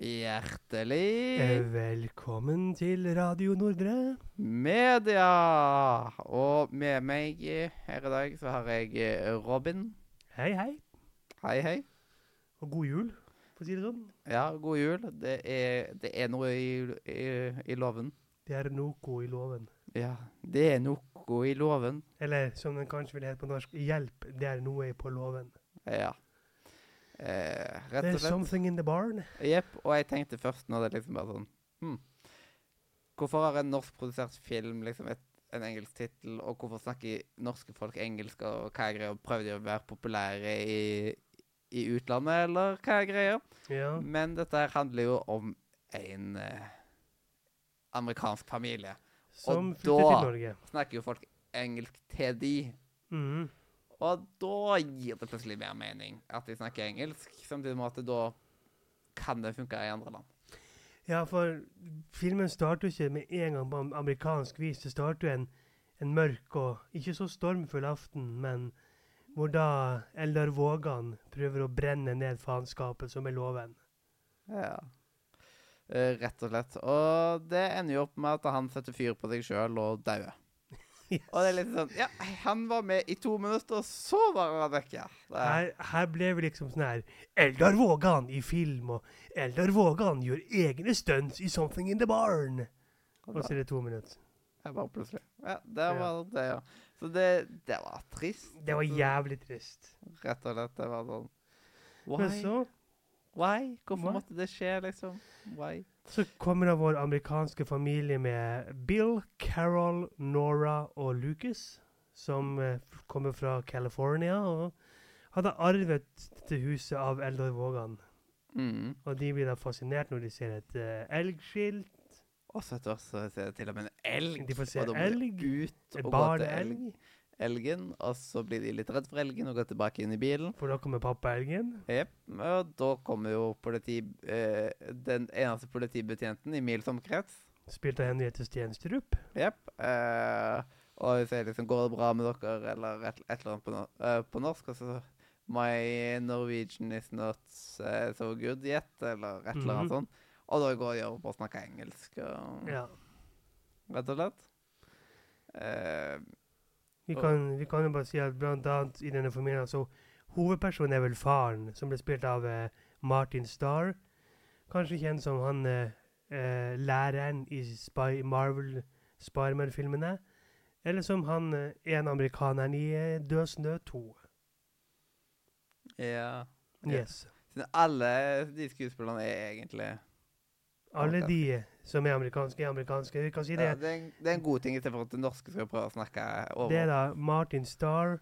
Hjertelig Eh, Velkommen til Radio Nordre. media! Og med meg eh, her i dag så har jeg eh, Robin. Hei, hei. Hei, hei. Og god jul, for å si det sånn. Ja, god jul. Det er, det er noe i, i, i loven. Det er noe i loven. Ja, det er noe i loven. Eller som den kanskje vil hete på norsk, hjelp, det er noe på loven. Ja. Eh, rett og There's slett. something in the barn. Jepp. Og jeg tenkte først når det liksom bare sånn hm. Hvorfor har en norskprodusert film liksom et, en engelsk tittel, og hvorfor snakker norske folk engelsk, og hva er greia? Prøver de å være populære i, i utlandet, eller hva er greia? Ja. Men dette her handler jo om en eh, amerikansk familie. Som Og flytter da- til Norge. Snakker jo folk engelsk til de. Mhm. Og da gir det plutselig mer mening at de snakker engelsk, samtidig med at det da kan det funke i andre land. Ja, for filmen starter jo ikke med en gang på am- amerikansk vis. Det starter jo en, en mørk og ikke så stormfull aften, men hvor da Eldar Vågan prøver å brenne ned faenskapet som er loven. Ja. Eh, Rett og slett. Og det ender jo opp med at han setter fyr på seg sjøl og dauer. Og det er litt sånn Ja, han var med i to minutter, og så var han vekke. Det er- Her, her ble vi liksom sånn her Eldar Vågan i film, og Eldar Vågan gjør egne stunts i Something in the Barn. Og så er det to minutter. Jeg bare plutselig. Ja, der var det, ja. Så det, det var trist. Det var jævlig trist. Rett og slett. Det var sånn Men Why? så, Why? Hvorfor Why? måtte det skje, liksom? Why? så kommer da vår amerikanske familie med Bill, Carol, Nora og Lucas, som eh, f- kommer fra California og hadde arvet dette huset av Eldar Vågan. Mm. Og de blir da fascinert når de ser et eh, elgskilt, Og så etter hvert så ser jeg til og med en elg. De får se og da må de elg, Ut et og gå til elg. barneelg, elgen, og så blir de litt redd for elgen og går tilbake inn i bilen. for da kommer pappaelgen. Jep, og da kommer jo politi, eh, den eneste politibetjenten i mils omkrets. Spilt av Henriette Stenstrup. Jep. Eh, og hun sier liksom 'Går det bra med dere?' eller et, et eller annet på, no eh, på norsk. Og så 'My Norwegian is not eh, so good yet', eller et eller annet Mhm. sånt. Og da går de over på å snakke engelsk, og, Ja. rett og slett. Eh, Vi Og- kan, vi kan jo bare si at blant annet i denne familien så Hovedpersonen er vel faren, som ble spilt av eh, Martin Starr. Kanskje kjent som han eh, eh, læreren i Spy Marvel Spiderman-filmene. Eller som han eh, en amerikaneren i eh, Død snø 2. ja. Ja. Yes. Så alle de skuespillerne er egentlig Alle Ok. de eh, som er amerikanske, er amerikanske. Vi kan si Ja, det. det, er en, det er en god ting istedenfor at det norske skal prøve å snakke over. Det er da Martin Starr,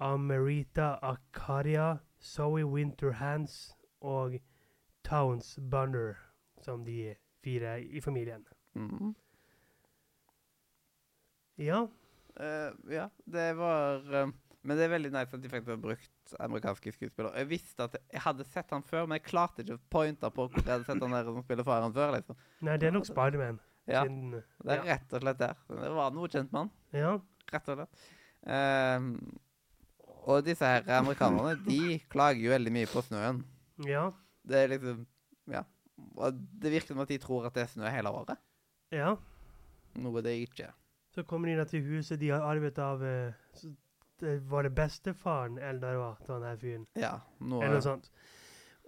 Amerita Akaria, Zoe Winterhands og Towns Bunner, som de fire i familien. Mhm. Ja, Eh, ja, det var eh, Men det er veldig nice at de faktisk har brukt amerikanske skuespillere. Jeg visste at jeg hadde sett han før, men jeg klarte ikke å pointe på hvor jeg hadde sett han der som spiller faren før. liksom. nei, det er nok Spiderman. Ja, siden- Det er rett og slett der. Det var noe kjent mann. ja. Rett og slett. Ehm, og disse her amerikanerne, de klager jo veldig mye på snøen. Ja. Det er liksom Ja. Og det virker som at de tror at det er snø hele året. ja. Noe det ikke er. Så kommer de da til huset de har arvet av eh, s- det Var det bestefaren Eldar var til han her fyren? Ja, noe Eller sånn, noe sånt.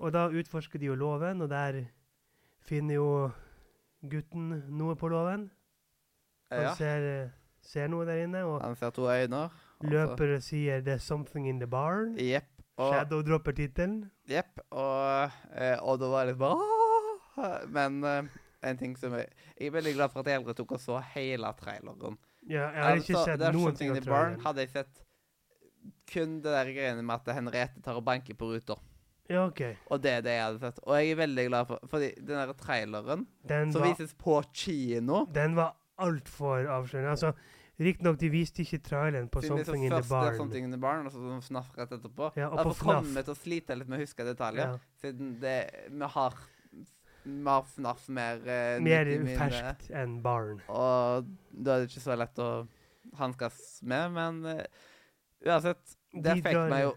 Og da utforsker de jo loven, og der finner jo gutten noe på loven. Han Ja. ser, ser noe der inne, og Han ser to øyne. og så- løper og sier 'There's something in the barn'. Jepp. Og, Shadow dropper tittelen. jepp, og, eh, og da var det litt bare «Åh!» Men eh, en ting som jeg, jeg er veldig glad for at jeg aldri tok og så hele traileren. Ja, jeg har ikke Altså, sett det er noen sånne ting av i Barn. traileren. Hadde jeg sett kun det der greiene med at Henriette tar og banker på ruter. Ja, OK. Og det er det jeg hadde sett. Og jeg er veldig glad for Fordi den der traileren Den som var, vises på kino den var altfor avslørende. Altså, Riktignok, de viste ikke traileren på siden liksom Something in the først det er Barn. Something in the Barn, og så sånn FNAF rett etterpå. Ja, og Derfor på kommer FNAF. vi til å slite litt med å huske detaljer. Ja, Siden det Vi har Vi har FNAF mer eh, mer nytt i minnet, ferskt enn Barn. Og da er det ikke så lett å hanskes med, men eh, uansett Det De fikk drar- meg jo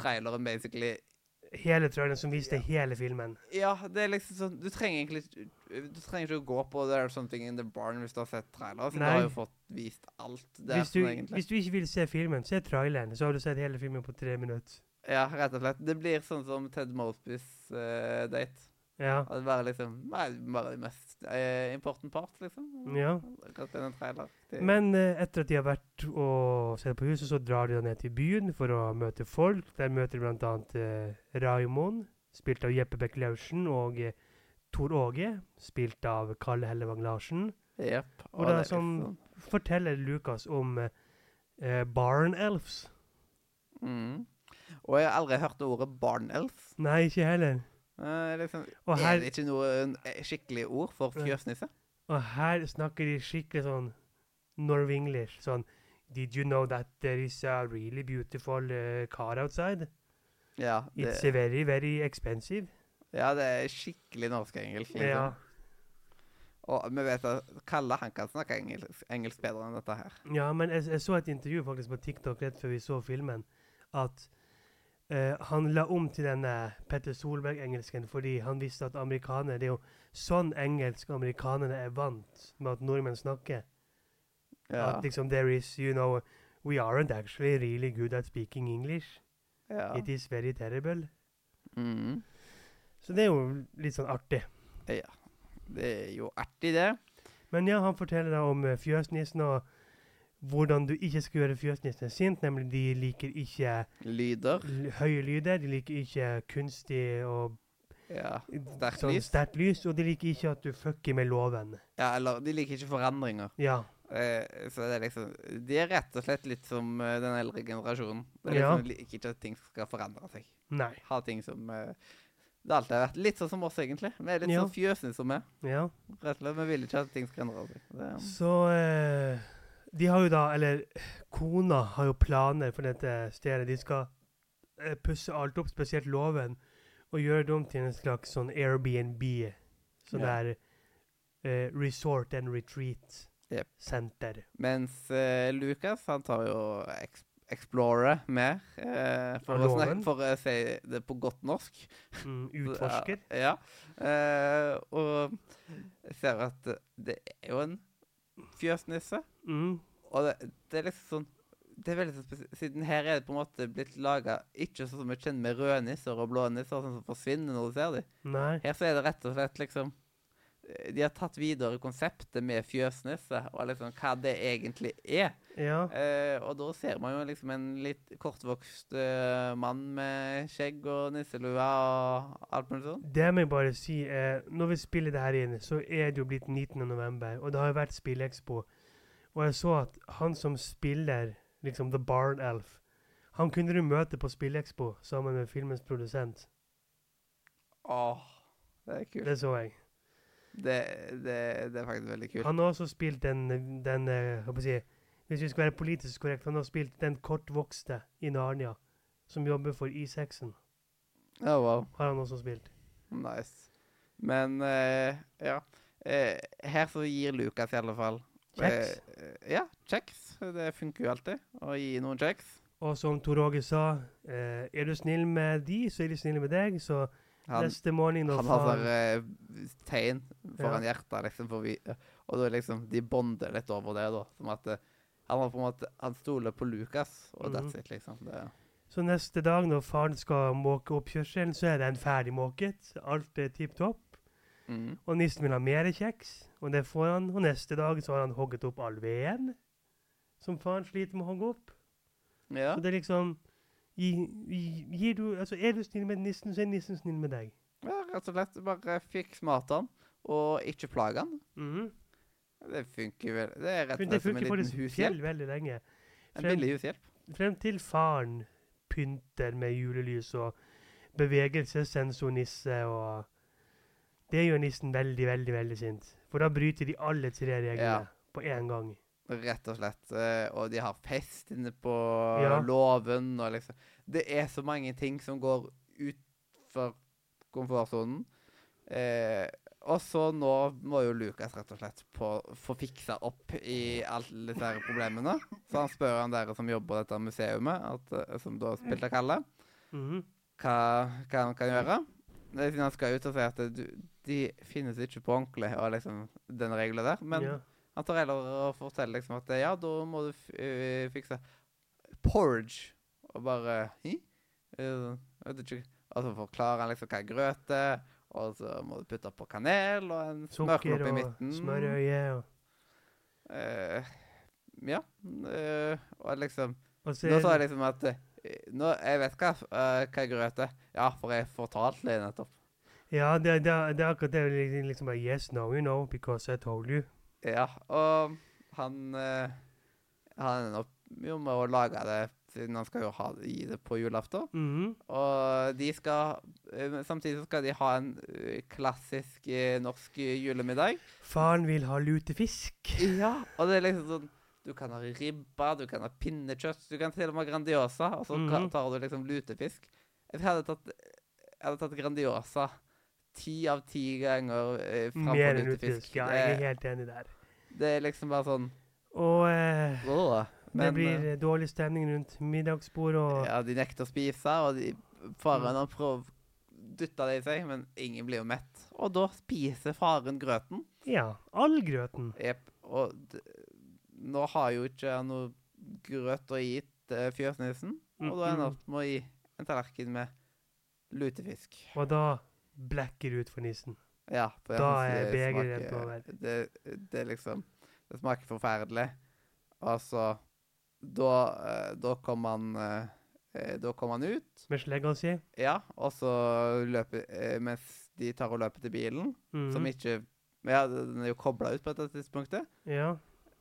traileren basically hele traileren som viste Ja. hele filmen. Ja, det er liksom sånn Du trenger egentlig ikke- Du trenger ikke å gå på There's Something in the Barn hvis du har sett trailer. For du Nei. har jo fått vist alt der, Hvis du, sånn, egentlig. hvis du ikke vil se filmen, se traileren, så har du sett hele filmen på tre minutter. Ja, rett og slett. Det blir sånn som Ted Mosbys eh, date. Ja. At det bare liksom Nei, bare det mest eh, important part, liksom. Ja. Akkurat denne trailer. Det- Men eh, etter at de har vært og sett på huset, så drar de da ned til byen for å møte folk. Der møter de bl.a. Eh, Raimond, spilt av Jeppe Bekk Laursen, og eh, Tor Åge, spilt av Kalle Hellevang Larsen. Jepp. Og det er sånn- liksom- Forteller Lukas om eh, eh, Barn Elves. liksom- mm. Og jeg har aldri hørt ordet barnelf. Nei, ikke heller. Eh, liksom, Og er her, det ikke noe eh, skikkelig ord for Nei. fjøsnisse? og her snakker de skikkelig sånn Norwenglish. Sånn Did you know that there is a really beautiful eh, car outside? Ja, It's det, very, very expensive. ja, det er skikkelig norsk engelsk. Liksom. Ja. Og vi vet at Kalle han kan snakke engelsk, engelsk bedre enn dette her. Ja, men jeg, jeg så et intervju faktisk på TikTok rett før vi så filmen, at eh, han la om til denne Petter Solberg-engelsken fordi han visste at amerikanere Det er jo sånn engelsk amerikanerne er vant med at nordmenn snakker. Ja, At liksom there is, you know We aren't actually really good at speaking English. ja. It is very terrible. Mm. Så det er jo litt sånn artig. Det er jo artig, det. Men ja, han forteller da om eh, fjøsnissen og hvordan du ikke skal gjøre fjøsnissen sint, nemlig de liker ikke Lyder. l- høye lyder. De liker ikke kunstig og Ja. Sterkt sånn lys. sterkt lys. Og de liker ikke at du fucker med loven. ja, eller de liker ikke forandringer. Ja. Eh, så det er liksom De er rett og slett litt som eh, den eldre generasjonen. Det er Ja. liksom, de liker ikke at ting skal forandre seg. Nei. Ha ting som eh, Det alltid har vært litt sånn som oss, egentlig. Vi er litt Ja. sånn fjøsne som vi er. Ja. Rett og slett. Vi vil ikke at ting skal endre seg. Det, Så eh, de har jo da Eller kona har jo planer for dette stedet. De skal eh, pusse alt opp, spesielt låven, og gjøre det om til en slags sånn Airbnb. Sånn Ja. der eh, resort and retreat. Jep. Senter. mens eh, Lucas, han tar jo eks- Explorer mer, eh, for, å Loven. snakke, for å si det på godt norsk. Mm, utforsker. Ja. ja. Eh, og jeg ser at det er jo en fjøsnisse. Mm. Og det, det er liksom sånn det er veldig sånn spesielt, Siden her er det på en måte blitt laga ikke sånn som vi kjenner med røde nisser og blå nisser, sånn som forsvinner når du ser dem. Nei. Her så er det rett og slett liksom eh, De har tatt videre konseptet med fjøsnisse og liksom hva det egentlig er. Ja. Eh, og da ser man jo liksom en litt kortvokst eh, mann med skjegg og nisselue og alt mulig sånn. Det må jeg bare si. Eh, når vi spiller det her inn, så er det jo blitt 19. november, og det har jo vært Spillekspo. Og jeg så at han som spiller liksom The Barn Elf, han kunne du møte på Spillekspo sammen med filmens produsent. Åh, det er kult. Det så jeg. Det, det, det er faktisk veldig kult. Han har også spilt den, den eh, hva skal jeg si, Hvis vi skal være politisk korrekt, han har spilt den kortvokste i Narnia, som jobber for I6-en. Oh, wow. Har han også spilt. Nice. Men eh, ja. Eh, her så gir Lukas i alle fall Kjeks. eh, ja, kjeks. Det funker jo alltid å gi noen kjeks. Og som Tor Åge sa, eh, er du snill med de, så er de snille med deg. Så Han, neste morgen når han har far- sånn eh, tegn foran hjertet, liksom, for vi, og da liksom De bonder litt over det, da. Som at eh, han har på en måte Han stoler på Lukas, og Mhm. that's it, liksom. Det, Så neste dag når faren skal måke oppkjørselen, så er den ferdig måket. Alt er tipp topp. mm. Og nissen vil ha mer kjeks, og det får han. Og neste dag så har han hogget opp all veden som faren sliter med å hogge opp. Ja. Så det er liksom gi- gi- Gir du Altså, er du snill med nissen, så er nissen snill med deg. ja, rett og slett. Bare fiks maten, og ikke plag han. Mhm. Det funker vel. Det er rett og Det slett som en funker liten faktisk hushjelp. fjell veldig lenge. En frem- billig hushjelp. Frem til faren pynter med julelys og bevegelsessensornisse og Det gjør nissen veldig, veldig, veldig sint. For da bryter de alle tre reglene Ja. på én gang. Rett og slett. eh, Og de har fest inne på Ja. låven og liksom Det er så mange ting som går utfor komfortsonen. Eh, og så nå må jo Lukas rett og slett på, få fiksa opp i alle disse her problemene. Så han spør han dere som jobber på dette museet, at, eh, som da spilte Kalle. Mhm. hva, hva han kan gjøre. Det er siden han skal ut og si at du, de finnes ikke på ordentlig, og liksom den regelen der. Men ja. han tar heller og forteller liksom at ja, da må du f øh, fikse porridge. Og bare Hi? Øh, jeg vet ikke. Og så forklarer han liksom hva grøt er, og så må du putte på kanel og en Sukker smørklopp i og midten. smørøye. Og, Eh, ja. eh, og liksom og så Nå sa er jeg liksom at eh, nå, Jeg vet hva, eh, hva grøt er. Ja, for jeg fortalte det nettopp. Ja, det, er- det, er- det er akkurat det. Liksom, liksom bare Yes, no, you know, because I told you. Ja, og han eh, Han ender opp jo med å lage det, siden han skal jo ha, gi det på julaften. Mhm. Og de skal eh, Samtidig så skal de ha en eh, klassisk eh, norsk julemiddag. Faren vil ha lutefisk. Ja, og det er liksom sånn Du kan ha ribba, du kan ha pinnekjøtt, du kan til og med ha Grandiosa, og så ka- Mhm. tar du liksom lutefisk. Jeg hadde tatt, jeg hadde tatt Grandiosa ti av ti ganger eh, Mer framfor enn lutefisk. lutefisk. Ja, jeg er det, helt enig der. det er liksom bare sånn Og eh, Åh. det Men blir eh, eh, dårlig stemning rundt middagsbordet, og Mm. ja, de nekter å spise, og de, faren han prøver dytta det i seg, men ingen blir jo mett. Og da spiser faren grøten. Ja, all grøten. Jep. Og d nå har jo ikke han noe grøt å gi til fjøsnissen, Mm, og da ender han opp med å gi en tallerken med lutefisk. Og da blekker ut for nissen. Ja, for Da han er sier begeret smaker- rent over. Det, eh, det er liksom Det smaker forferdelig. Og så Da, eh, da kom han eh, eh, Da kom han ut, Med slegga si. ja, og så løper eh, Mens de tar og løper til bilen, Mhm. som ikke Ja, den er jo kobla ut på dette tidspunktet. Ja.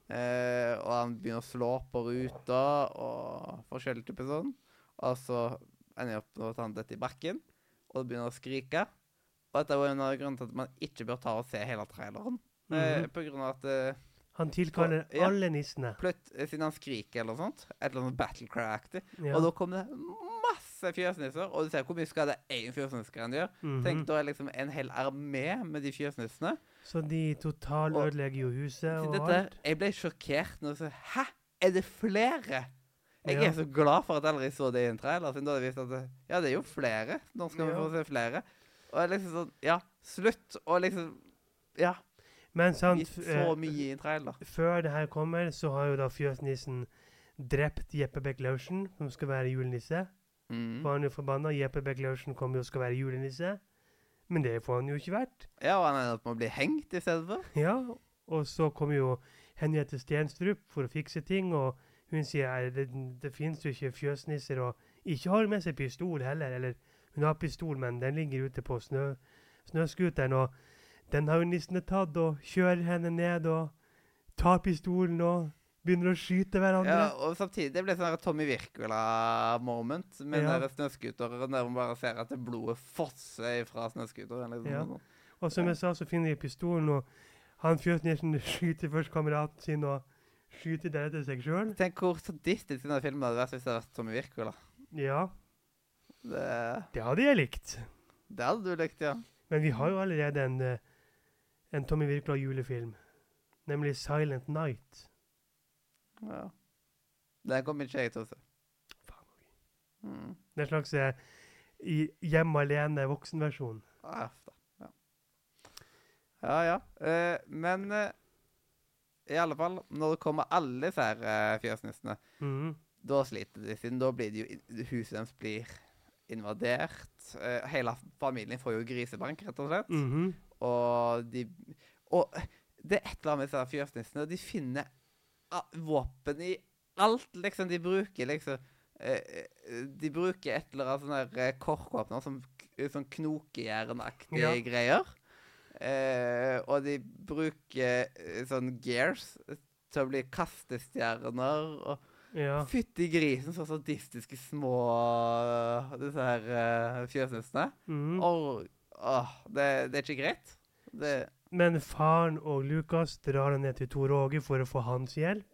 Eh, og han begynner å slå på ruta og forskjellige typer sånn. Og så ender jeg opp med at han detter i bakken og begynner å skrike. Og dette var en av grunnene til at man ikke bør ta og se hele traileren. Eh, Mhm. på grunn av at eh, Han tilkaller Ja. alle nissene. plutt, eh, siden han skriker eller noe sånt, et eller annet battlecry-aktig, Ja. og da kommer det masse fjøsnisser, og du ser hvor mye skade én fjøsnisse kan gjøre. Mhm. Tenk da er liksom en hel armé med de fjøsnissene. Så de totalødelegger jo huset Til og dette, alt. jeg ble sjokkert når jeg sa Hæ? Er det flere? Jeg Ja. er så glad for at jeg aldri så det i en trailer, siden da hadde jeg visst at det, Ja, det er jo flere. Nå skal vi Ja. få se flere. Og jeg liksom sånn Ja, slutt. Og liksom Ja. Men sant, Gitt så eh, mye i en trailer. før det her kommer, så har jo da fjøsnissen drept Jeppe Bekk Laursen, som skal være julenisse. Mm. Var han jo forbanna. Jeppe Bekk Laursen kommer jo og skal være julenisse. Men det får han jo ikke vært. Ja, og han ender opp med å bli hengt i stedet for. Ja, og så kommer jo Henriette Stenstrup for å fikse ting, og hun sier at det, det finnes jo ikke fjøsnisser, og ikke har hun med seg pistol heller, eller hun har pistol, men den ligger ute på snø, snøskuteren, og den har jo nissene tatt, og kjører henne ned, og tar pistolen, og begynner å skyte hverandre. Ja, og samtidig det ble sånn her Tommy Wirkola-moment med Ja. ja. snøscooteren der man bare ser at det blodet fosser fra snøscooteren. Liksom. Ja. sånn. Og som jeg sa, så finner de pistolen, og han fjøsnissen skyter først kameraten sin, og skyter deretter seg sjøl. Tenk hvor sadistisk denne filmen hadde vært hvis det hadde vært Tommy Wirkola. Ja, Det det hadde jeg likt. Det hadde du likt, ja. Men vi har jo allerede en, eh, en Tommy Wirkola julefilm. Nemlig 'Silent Night'. ja. Den kommer ikke jeg til å se. Faen, ok. Mm. Det er en slags eh, i hjemme alene voksenversjon. Ah, f da. ja. ja, ja. Eh, men eh, i alle fall, når det kommer alle disse her eh, fjøsnissene, Mhm. da sliter de, siden da blir det jo in- huset deres blir invadert. Eh, hele familien får jo grisebank, rett og slett. Mhm. Og de Og det er et eller annet med disse fjøsnissene. De finner a- våpen i alt, liksom. De bruker liksom eh, eh, De bruker et eller annet sånn der eh, korkåpner, som k- sånn knokejernaktige Ja. greier. Eh, og de bruker eh, sånn gears til å bli kastestjerner. Og Ja. fytti grisen, så sadistiske små eh, disse her eh, fjøsnissene. Mhm. Åh, åh, det, det er ikke greit. Det, Men faren og Lucas drar ned til Tor Åge for å få hans hjelp.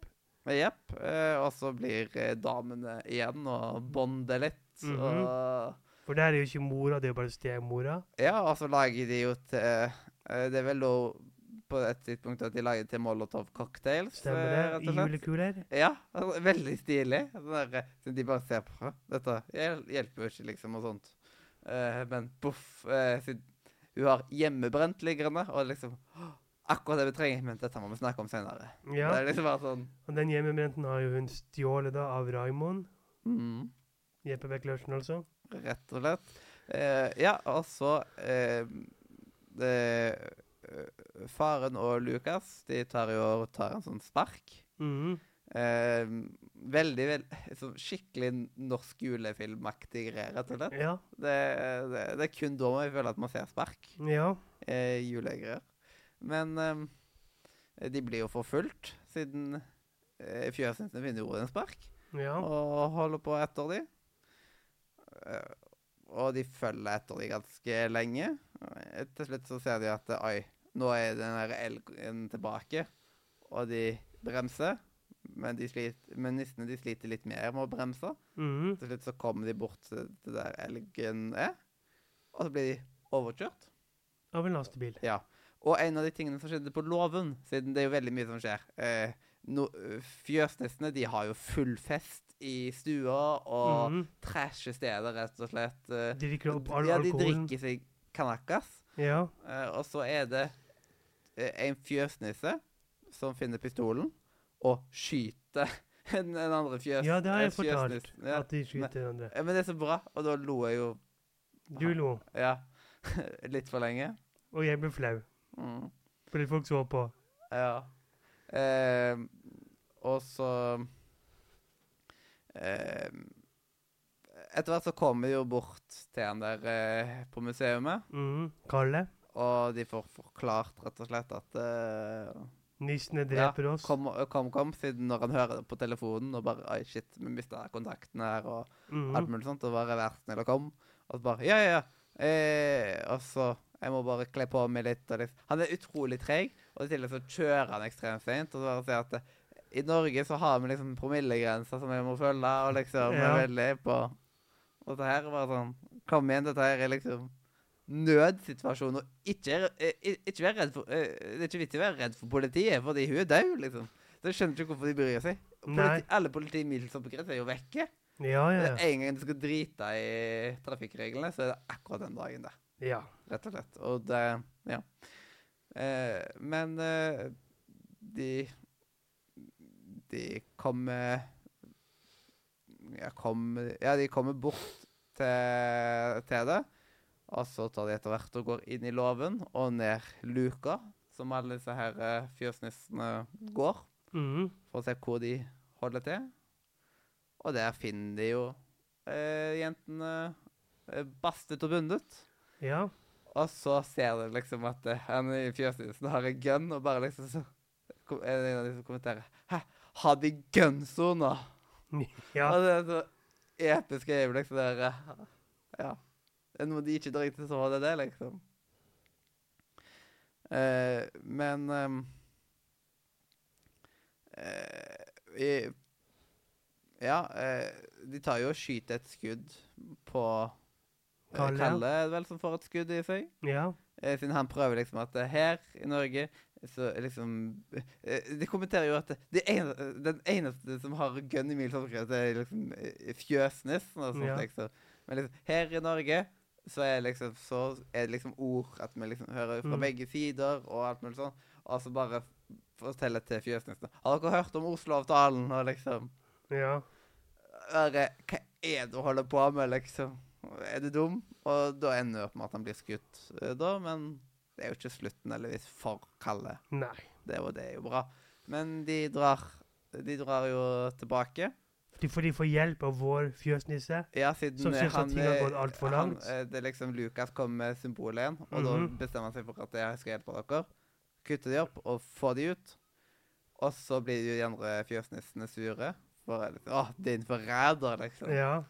men jepp. Eh, og så blir eh, damene igjen og bonder litt. Mhm. og, For der er jo ikke mora, det er jo bare stemora. ja, og så lager de jo til eh, Det er vel da på et tidspunkt at de lager til Molotov-cocktails. eh, Stemmer rett det? og slett. Julekuler? Ja, altså, veldig stilig. Sånn der, eh, så de bare ser på. «Hå, Dette hjel- hjelper jo ikke, liksom, og sånt. Eh, men poff eh, siden Hun har hjemmebrent liggende, og liksom «Åh, Akkurat det vi trenger, men dette må vi snakke om senere. Ja. Det er liksom bare sånn Og den hjemmebrenten har jo hun stjålet da av Raimond. mm, Jeppe Bech Larsen, altså. Rett og slett. Eh, ja, og så eh, det, eh, Faren og Lukas de tar jo tar en sånn spark. Mhm. Eh, veldig, veldig sånn Skikkelig norsk julefilmaktig greie, rett og slett. Ja. Det, det, det er kun da man føler at man ser spark ja. eh, julegreier. Men eh, de blir jo forfulgt, siden eh, fjøsene vinner ordet en spark, Ja. og holder på etter de. Eh, og de følger etter de ganske lenge. Eh, Til slutt så ser de at eh, oi, nå er den der elgen tilbake, og de bremser. Men, de sliter, men nissene de sliter litt mer med å bremse. Mhm. Til slutt så kommer de bort til til der elgen er, og så blir de overkjørt. Av en lastebil. Ja. Og en av de tingene som skjedde på låven, siden det er jo veldig mye som skjer eh, no, Fjøsnissene de har jo full fest i stua og Mhm. trasher stedet, rett og slett. Eh, De drikker opp all ja, de alkoholen. drikker seg kanakas. Ja. Eh, og så er det eh, en fjøsnisse som finner pistolen og skyter en, en andre fjøs. ja, det har jeg en fortalt. fjøsniss. Ja. At de skyter hverandre. Eh, Men det er så bra, og da lo jeg jo Du lo, ja, litt for lenge. og jeg ble flau. Mm. Fordi folk så på. Ja. Eh, og så eh, Etter hvert så kommer de jo bort til han der eh, på museet, Mhm. Kalle. og de får forklart rett og slett at eh, Nissene dreper oss. kom, kom, kom, siden når han hører det på telefonen og bare Oi, shit, vi mista kontakten her, og Mhm. alt mulig sånt, og bare vær snill og kom. Og så bare Ja, ja, ja. Eh, og så jeg må bare kle på meg litt. Og liksom. Han er utrolig treg, og i tillegg så kjører han ekstremt seint. Og så bare sier at eh, i Norge så har vi liksom promillegrenser som vi må følge, og liksom Ja. er veldig på Og så her er bare sånn Kom igjen, dette her er liksom nødsituasjon, og ikke, eh, i- ikke være redd for eh, Det er ikke vits i å være redd for politiet, fordi hun er død, liksom. Så jeg skjønner ikke hvorfor de bryr seg. Nei. Politi, alle politimiddelsoppgrenset er jo vekke. Ja, ja, Det er En gang du skal drite i trafikkreglene, så er det akkurat den dagen der. ja. Rett og slett. Og det Ja. Eh, men eh, de De kommer ja, kom, ja, de kommer bort til, til det. Og så tar de etter hvert og går inn i låven og ned luka, som alle disse her eh, fjøsnissene går Mhm. for å se hvor de holder til. Og der finner de jo eh, jentene eh, bastet og bundet. Ja. Og så ser du liksom at eh, han i fjøsnissen har en gun, og bare liksom så kom, er det en av de som kommenterer Hæ, har de gunsoner? Ja. Og det er så episke øyeblikk. så Der, eh, ja. Det er Noe de ikke direkte så var det det, liksom. Eh, men ehm, eh, i, Ja, eh, de tar jo og skyter et skudd på eh, Kalle, ja. Kalle er det vel, som får et skudd i seg. Ja. Eh, Siden han prøver liksom at eh, her i Norge så er liksom eh, De kommenterer jo at det ene, den eneste som har gun i milsomkret, er liksom eh, Fjøsnissen og sånt. Ja. liksom. Men liksom, her i Norge så er, liksom, så er det liksom ord at vi liksom hører fra Mm. begge sider og alt mulig sånn. Og så bare forteller til Fjøsnissen Har dere hørt om Oslo-avtalen? Og liksom Ja. bare, Hva er det du holder på med, liksom? Er du dum? Og da ender det opp med at han blir skutt, eh, da, men det er jo ikke slutten, heldigvis, for Kalle. Nei. Det, og det er jo bra. Men de drar, de drar jo tilbake. De får, de får hjelp av vår fjøsnisse. Ja, siden Som eh, synes at ting har eh, gått alt for han, langt. eh, Det er liksom Lukas kommer med symbolet igjen, og Mhm. da bestemmer han seg for at jeg skal hjelpe dere. Kutte de opp og få de ut. Og så blir jo de andre fjøsnissene sure. For eh, liksom, Å, din forræder, liksom. Ja.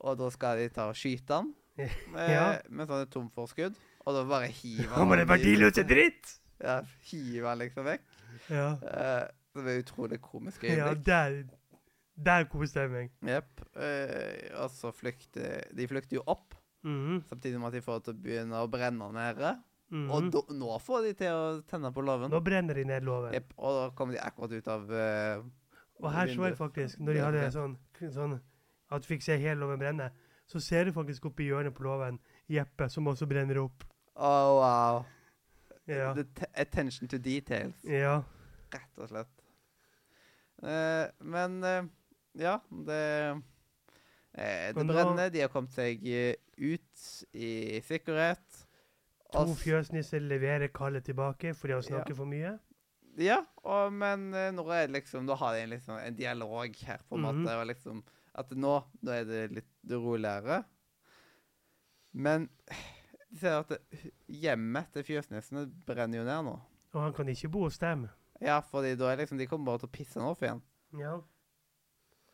Og da skal de ta og skyte han. Ja. Eh, mens han er tom for skudd. Og da bare hiver Han bare i- verdiløse dritt! Ja, hiver han liksom vekk. Ja. Eh, det var utrolig komisk Ja, øyeblikk. der, der koste jeg meg. Jepp. Eh, og så flykter De flykter jo opp, Mhm. samtidig med at de får til å begynne å brenne nede. Mhm. Og da- nå får de til å tenne på låven. Nå brenner de ned låven. Jepp. Og da kommer de akkurat ut av eh, Og her så jeg vinduet. faktisk, når de Ja, hadde ok. sånn, sånn at du fikk se hele låven brenne, så ser du faktisk oppi hjørnet på låven Jeppe, som også brenner opp. Oh, wow. Ja. The t attention to details, ja. rett og slett. Eh, men eh, ja, det eh, Det Men da- brenner. De har kommet seg eh, ut i sikkerhet. To Og s- fjøsnisser leverer Kalle tilbake fordi han snakker for mye. Ja, og, men eh, nå er det liksom Nå har de en, liksom, en dialog her, på en Mhm. måte. Og liksom At nå, nå er det litt roligere. Men de ser at det- hjemmet til fjøsnissene brenner jo ned nå. Og han kan ikke bo hos dem. Ja, fordi da er liksom De kommer bare til å pisse han opp igjen. Ja.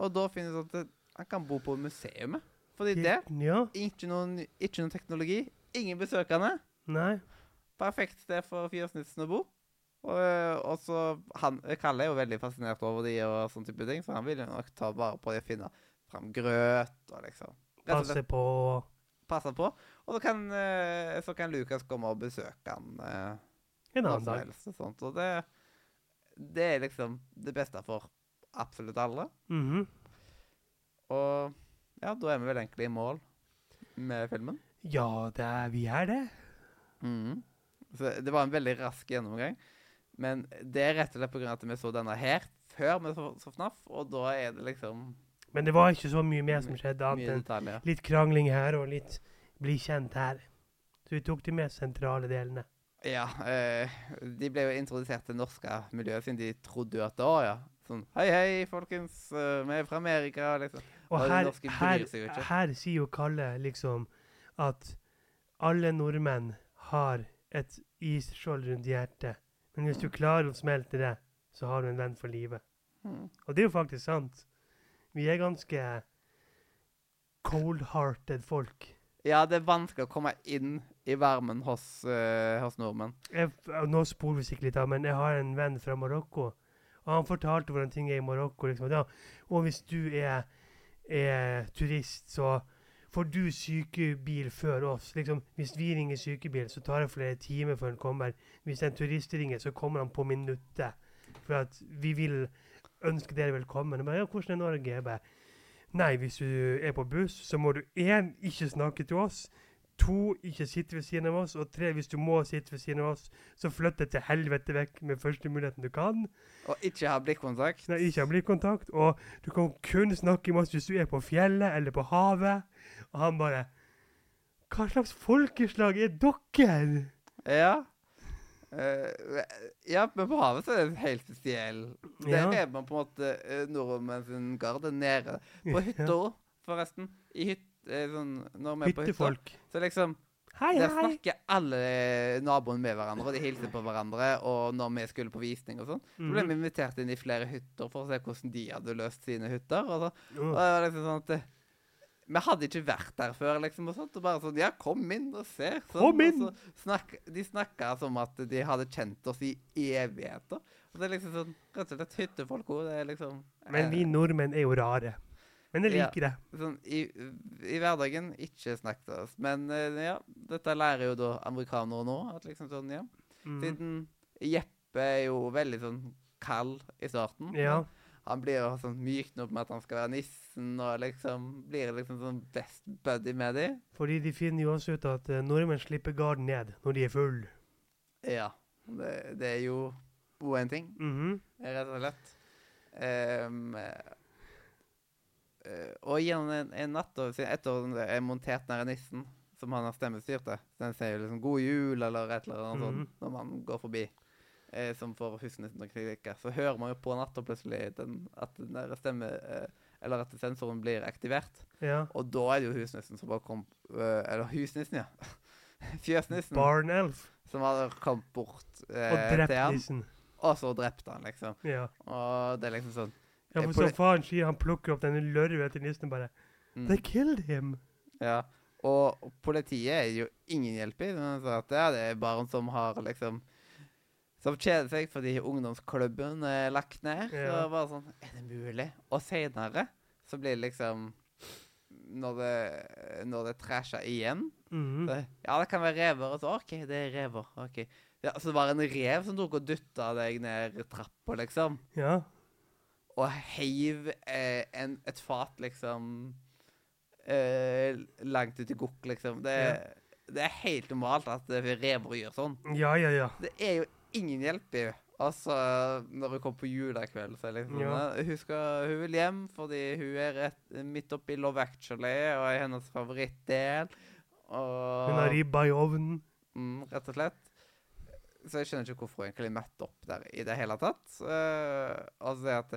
Og da finnes det at det- han kan bo på museet. Fordi det Ja. ikke noen, ikke noen teknologi, ingen besøkende. Nei. perfekt sted for Fjøsnissen å bo. Og, øh, og så han, Kalle er jo veldig fascinert over de og sånn type ting, så han vil jo nok ta vare på de og finne fram grøt og liksom rett og slett Passe på passe på. Og så kan, øh, så kan Lukas komme og besøke han øh, en når annen som dag. helst og sånt. Og det, det er liksom det beste for absolutt alle. Mhm. Og ja, da er vi vel egentlig i mål med filmen. Ja, det er, vi er det. Mm. Mhm. Så det var en veldig rask gjennomgang. Men det er rett og slett pga. at vi så denne her før vi så, så FNAF, og da er det liksom Men det var ikke så mye mer som skjedde, annet mye enn detaljer. litt krangling her og litt bli kjent her. Så vi tok de mer sentrale delene. Ja, eh, De ble jo introdusert til det norske miljøet siden de trodde jo at det var ja. Sånn Hei, hei, folkens, eh, vi er fra Amerika. liksom. Og Ja, de her, norske bryr her, seg jo ikke. her sier jo Kalle liksom at alle nordmenn har et isskjold rundt hjertet. Men hvis du klarer å smelte det, så har du en venn for livet. Mhm. Og det er jo faktisk sant. Vi er ganske cold-hearted folk. Ja, det er vanskelig å komme inn i varmen hos, eh, hos nordmenn. jeg, nå spoler vi sikkert litt av, men jeg har en venn fra Marokko. Og han fortalte hvordan ting er i Marokko. Liksom, at ja, og hvis du er, er turist, så får du sykebil før oss. Liksom, hvis vi ringer sykebil, så tar det flere timer før den kommer. Hvis en turist ringer, så kommer han på minuttet. For at vi vil ønske dere velkommen. Og bare, ja, hvordan er Norge? Jeg bare, Nei, hvis du er på buss, så må du én ikke snakke til oss. To, ikke sitte ved siden av oss. Og tre, hvis du må sitte ved siden av oss, så flytt deg til helvete vekk med første muligheten du kan. Og ikke ha blikkontakt. Nei, ikke ha blikkontakt. Og du kan kun snakke med oss hvis du er på fjellet eller på havet. Og han bare Hva slags folkeslag er dere? Ja. Eh, ja, men på havet så er det helt spesiell. Der Ja. er man på en måte eh, nordmenn sin garde nede. På hytta òg, forresten. I hyt, eh, sånn, når vi er på hytta, Hyttefolk. så liksom Hei, Der hei. snakker alle eh, naboene med hverandre, og de hilser på hverandre. Og når vi skulle på visning og sånn, så ble vi Mhm. invitert inn i flere hytter for å se hvordan de hadde løst sine hytter. Og, så, og Åh. det var liksom sånn at eh, vi hadde ikke vært der før, liksom, og sånt, og bare sånn Ja, kom inn og se. Sånn, Kom og inn! så snakk, de snakka som at de hadde kjent oss i evigheter. Og det er liksom sånn Rett og slett hyttefolk også, Det er liksom Men vi nordmenn er jo rare. Men jeg Ja. liker det. sånn, i, I hverdagen ikke snakk til oss. Men eh, ja, dette lærer jo da amerikanere nå. At liksom sånn, ja. Mm. Siden Jeppe er jo veldig sånn kald i starten. Ja. Han blir jo sånn myknet opp med at han skal være nissen, og liksom blir liksom sånn best buddy med de. Fordi de finner jo også ut at eh, nordmenn slipper garden ned når de er full. Ja. Det, det er jo jo en ting, Mhm. rett og slett. Ehm, eh, og gjennom en, en natt og siden- etter at han er montert nær nissen, som han har stemmestyrt til, den sier jo liksom 'god jul' eller et eller annet Mhm. sånt når man går forbi. Eh, som får husnissen til å klikke. Så hører man jo på natta plutselig den, at den der stemme... Eh, eller at sensoren blir aktivert. Ja. Og da er det jo husnissen som bare kom eh, Eller husnissen, ja. Fjøsnissen Barn elf. som hadde kommet bort eh, Og drept til han. nissen. Og så drepte han, liksom. Ja. Og det er liksom sånn Ja, Eh, for på som det- faren sier, han plukker opp denne lørven etter nissen og bare mm, They killed him! Ja. Og politiet er jo ingen hjelp i. De sa at ja, det er barn som har liksom Som kjeder seg fordi ungdomsklubben er lagt ned. Så Ja. bare sånn Er det mulig? Og seinere så blir det liksom Når det, når det trasher igjen Mhm. Det- Ja, det kan være rever. Og så, OK, det er rever. ok. Ja, så det var en rev som tok og dytta deg ned trappa, liksom. Ja. Og heiv eh, en, et fat, liksom eh, Langt ut i gokk, liksom. Det, det er helt normalt at eh, Rebro gjør sånn. Ja, ja, ja. Det er jo ingen hjelp i Altså, når hun kom på julekveld, så er det liksom sånn Ja. eh, Hun, skal, hun vil hjem fordi hun er rett, midt oppi Love Actually og er hennes favorittdel. Og Hun har ribba i ovnen. mm, rett og slett. Så jeg skjønner ikke hvorfor hun egentlig møtte opp der i det hele tatt. Eh, altså det at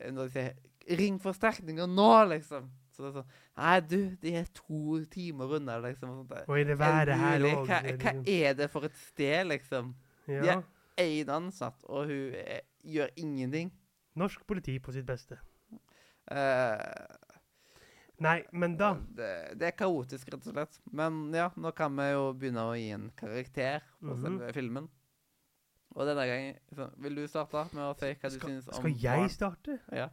eh, Når de sier 'ring forsterkninger nå', liksom Så det er sånn Nei, du, de er to timer unna, liksom. Og sånt. der. Og i det Er været her mulig? òg. Hva, hva er det for et sted, liksom? Ja. ja. Én ansatt, og hun eh, gjør ingenting. Norsk politi på sitt beste. Eh, Nei, men da det, det er kaotisk, rett og slett. Men ja, nå kan vi jo begynne å gi en karakter på Mhm. selve filmen. Og denne gangen så, Vil du starte med å si hva du Skal, synes om skal jeg Barn? starte? Ja.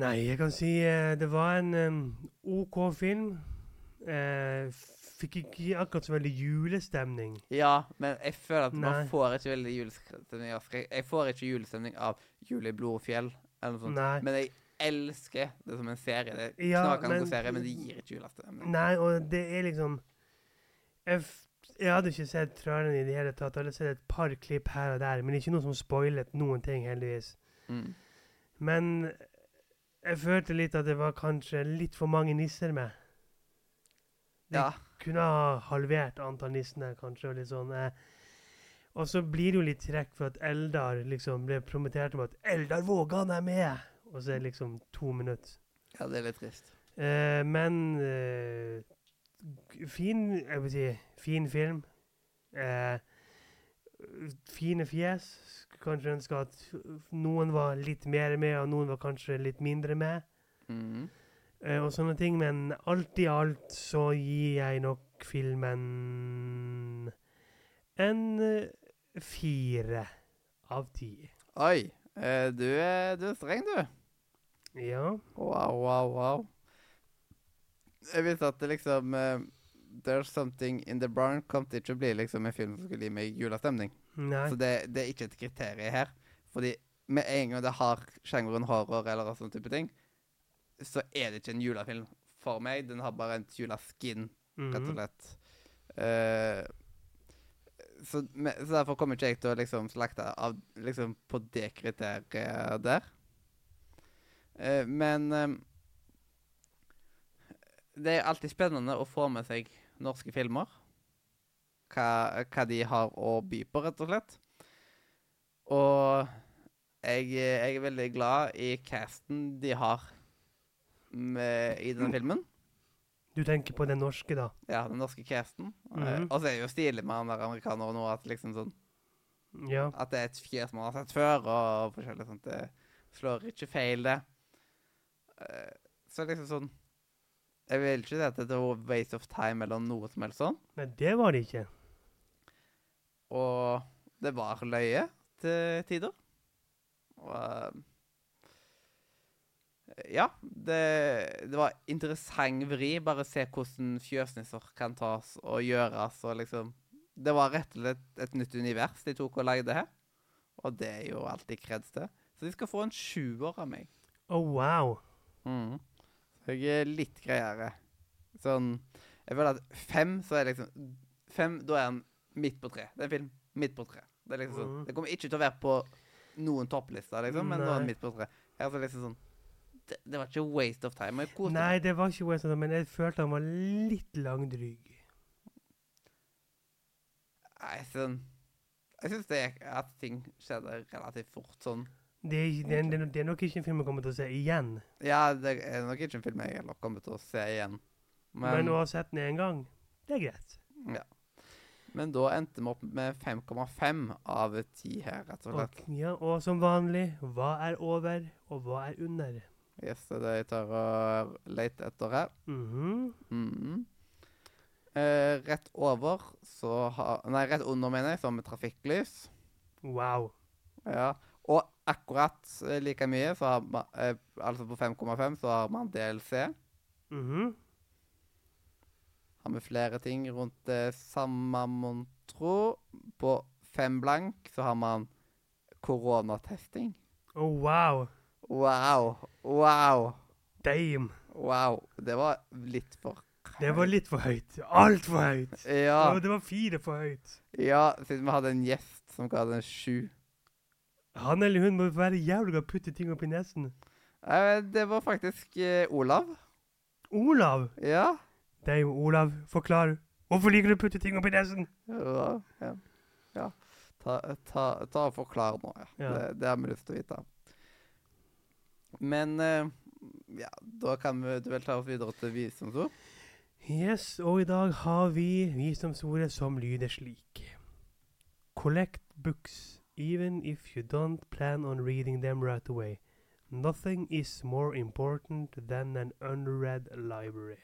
Nei, jeg kan si eh, det var en eh, OK film. Eh, fikk ikke akkurat så veldig julestemning. ja, men jeg føler at Nei. man får ikke veldig julestemning av Fre- Jeg får ikke julestemning av Julie Blodfjell eller noe sånt. Nei. Men jeg elsker det som en serie. Det er Ja, knakende men- god serie, men det gir ikke julestemning. Nei, og det er liksom jeg, f jeg hadde ikke sett traileren i det hele tatt. Jeg hadde sett et par klipp her og der, men ikke noe som spoilet noen ting, heldigvis. Mm. Men jeg følte litt at det var kanskje litt for mange nisser med. Det- Ja. Kunne ha halvert antall nissene, kanskje. Og litt sånn eh. Og så blir det jo litt trekk for at Eldar liksom ble promotert om at 'Eldar Vågan er med!' Og så er det liksom to minutter. ja, det er litt trist. Eh, men eh, g- fin Jeg vil si fin film. Eh, fine fjes. Skulle kanskje ønske at noen var litt mer med, og noen var kanskje litt mindre med. Mhm. eh, og sånne ting. Men alt i alt så gir jeg nok filmen en eh, fire av ti. Oi. eh, Du er, du er streng, du. Ja. Wow, wow, wow. Jeg visste at det liksom eh, There's Something in the Barn kom til ikke å bli liksom en film som skulle gi meg julestemning. Nei. Så det, det er ikke et kriterium her. Fordi med en gang det har sjangeren horror eller sånn type ting, så er det ikke en julefilm for meg. Den har bare en juleskin, rett og Mhm. slett. Eh, så, me- så derfor kommer ikke jeg til å liksom slakte av liksom på det kriteriet der. Eh, men eh, det er alltid spennende å få med seg norske filmer. Hva, hva de har å by på, rett og slett. Og jeg, jeg er veldig glad i casten de har med, i denne filmen. Du tenker på den norske, da? Ja, den norske casten. Eh, Mhm. Og så er det jo stilig med han der amerikaneren nå, at, liksom sånn, Ja. at det er et fjes man har sett før, og forskjellig sånt. Det slår ikke feil, det. Eh, Så liksom sånn Jeg vil ikke si at det er noe waste of time eller noe som helst sånn. Nei, det var det ikke. Og det var løye til tider. Og eh, Ja. Det, det var interessant vri. Bare se hvordan fjøsnisser kan tas og gjøres og liksom Det var rett og slett et nytt univers de tok og lagde her. Og det er jo alltid kreds til. Så de skal få en sjuer av meg. Oh, wow. Mm. Så jeg er litt greiere. Sånn Jeg føler at fem, så er liksom Fem, da er han midt på tre. Det er en film midt på tre. Det er liksom sånn. Mhm. Det kommer ikke til å være på noen topplister, liksom, men da er Nei. han midt på tre. Her så er det liksom sånn det, det var ikke waste of time. og Jeg koste Nei, meg. det var ikke West End, men jeg følte han var litt langdryg. Nei, sånn Jeg syns det er at ting skjedde relativt fort sånn. Det er, ikke- det, er, det er nok- det er nok ikke en film jeg kommer til å se igjen. Ja, det er nok ikke en film jeg heller kommer til å se igjen. Men, Men, å ha sett den én gang, det er greit. men da endte vi opp med 5,5 av 10 her, rett og slett. Og, ja, og som vanlig, hva er over, og hva er under? Yes, det er det jeg tar og leter etter her. Mhm. Mhm. Eh, rett over så har Nei, rett under, mener jeg, så har vi trafikklys. Wow. Ja. Og akkurat eh, like mye, så har man, eh, altså på 5,5, så har man DLC. Mhm. Har vi flere ting rundt det samme, mon tro. På 5 blank så har man koronatesting. Oh, wow. Wow. Wow. Damn. Wow. Det var litt for Det var litt for høyt. Altfor høyt! Ja, Det var fire for høyt. ja, siden vi hadde en gjest som ga den sju. Han eller hun må være jævlig god til å putte ting opp i nesen. Eh, Det var faktisk eh, Olav. Olav! Ja. Det er jo Olav. Forklar. Hvorfor liker du å putte ting opp i nesen? Ja. ja. ja. Ta, ta, ta og forklar nå, ja. Ja. Det, det har vi lyst til å vite. Men eh, ja, da kan vi du vel ta oss videre til visdomsord. Yes, og i dag har vi visdomsordet som lyder slik. Collect books, even if you don't plan on reading them right away. Nothing is more important than an unread library.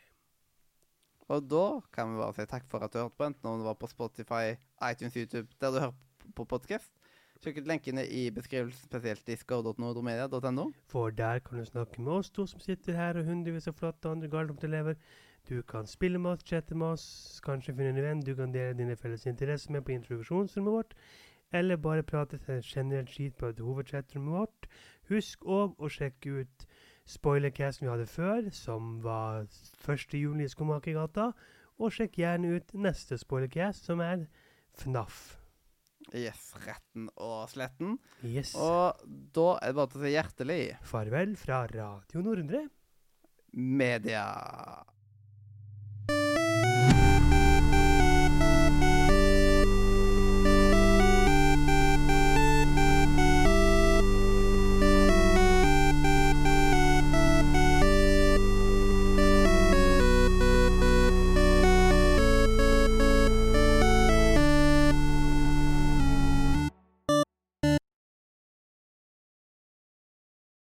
Og da kan vi bare si takk for at du hørte på, enten om det var på Spotify, iTunes, YouTube, der du hører på podkast. Sjekk ut lenkene i beskrivelsen, spesielt i skov.nordromedia.no. For der kan du snakke med oss to som sitter her, og hundrevis av flotte andre Gardemte-elever. Du kan spille med oss, chatte med oss, kanskje finne en venn du kan dele dine felles interesser med på introduksjonsrommet vårt, eller bare prate til generelt skit på et hovedchat-rommet vårt. Husk òg å sjekke ut spoilercasten vi hadde før, som var 1. juli i Skomakergata, og sjekk gjerne ut neste spoilercast, som er FNAF. Yes, retten og sletten. Yes. Og da er det bare til å si hjertelig Farvel fra Radio Nordre. media.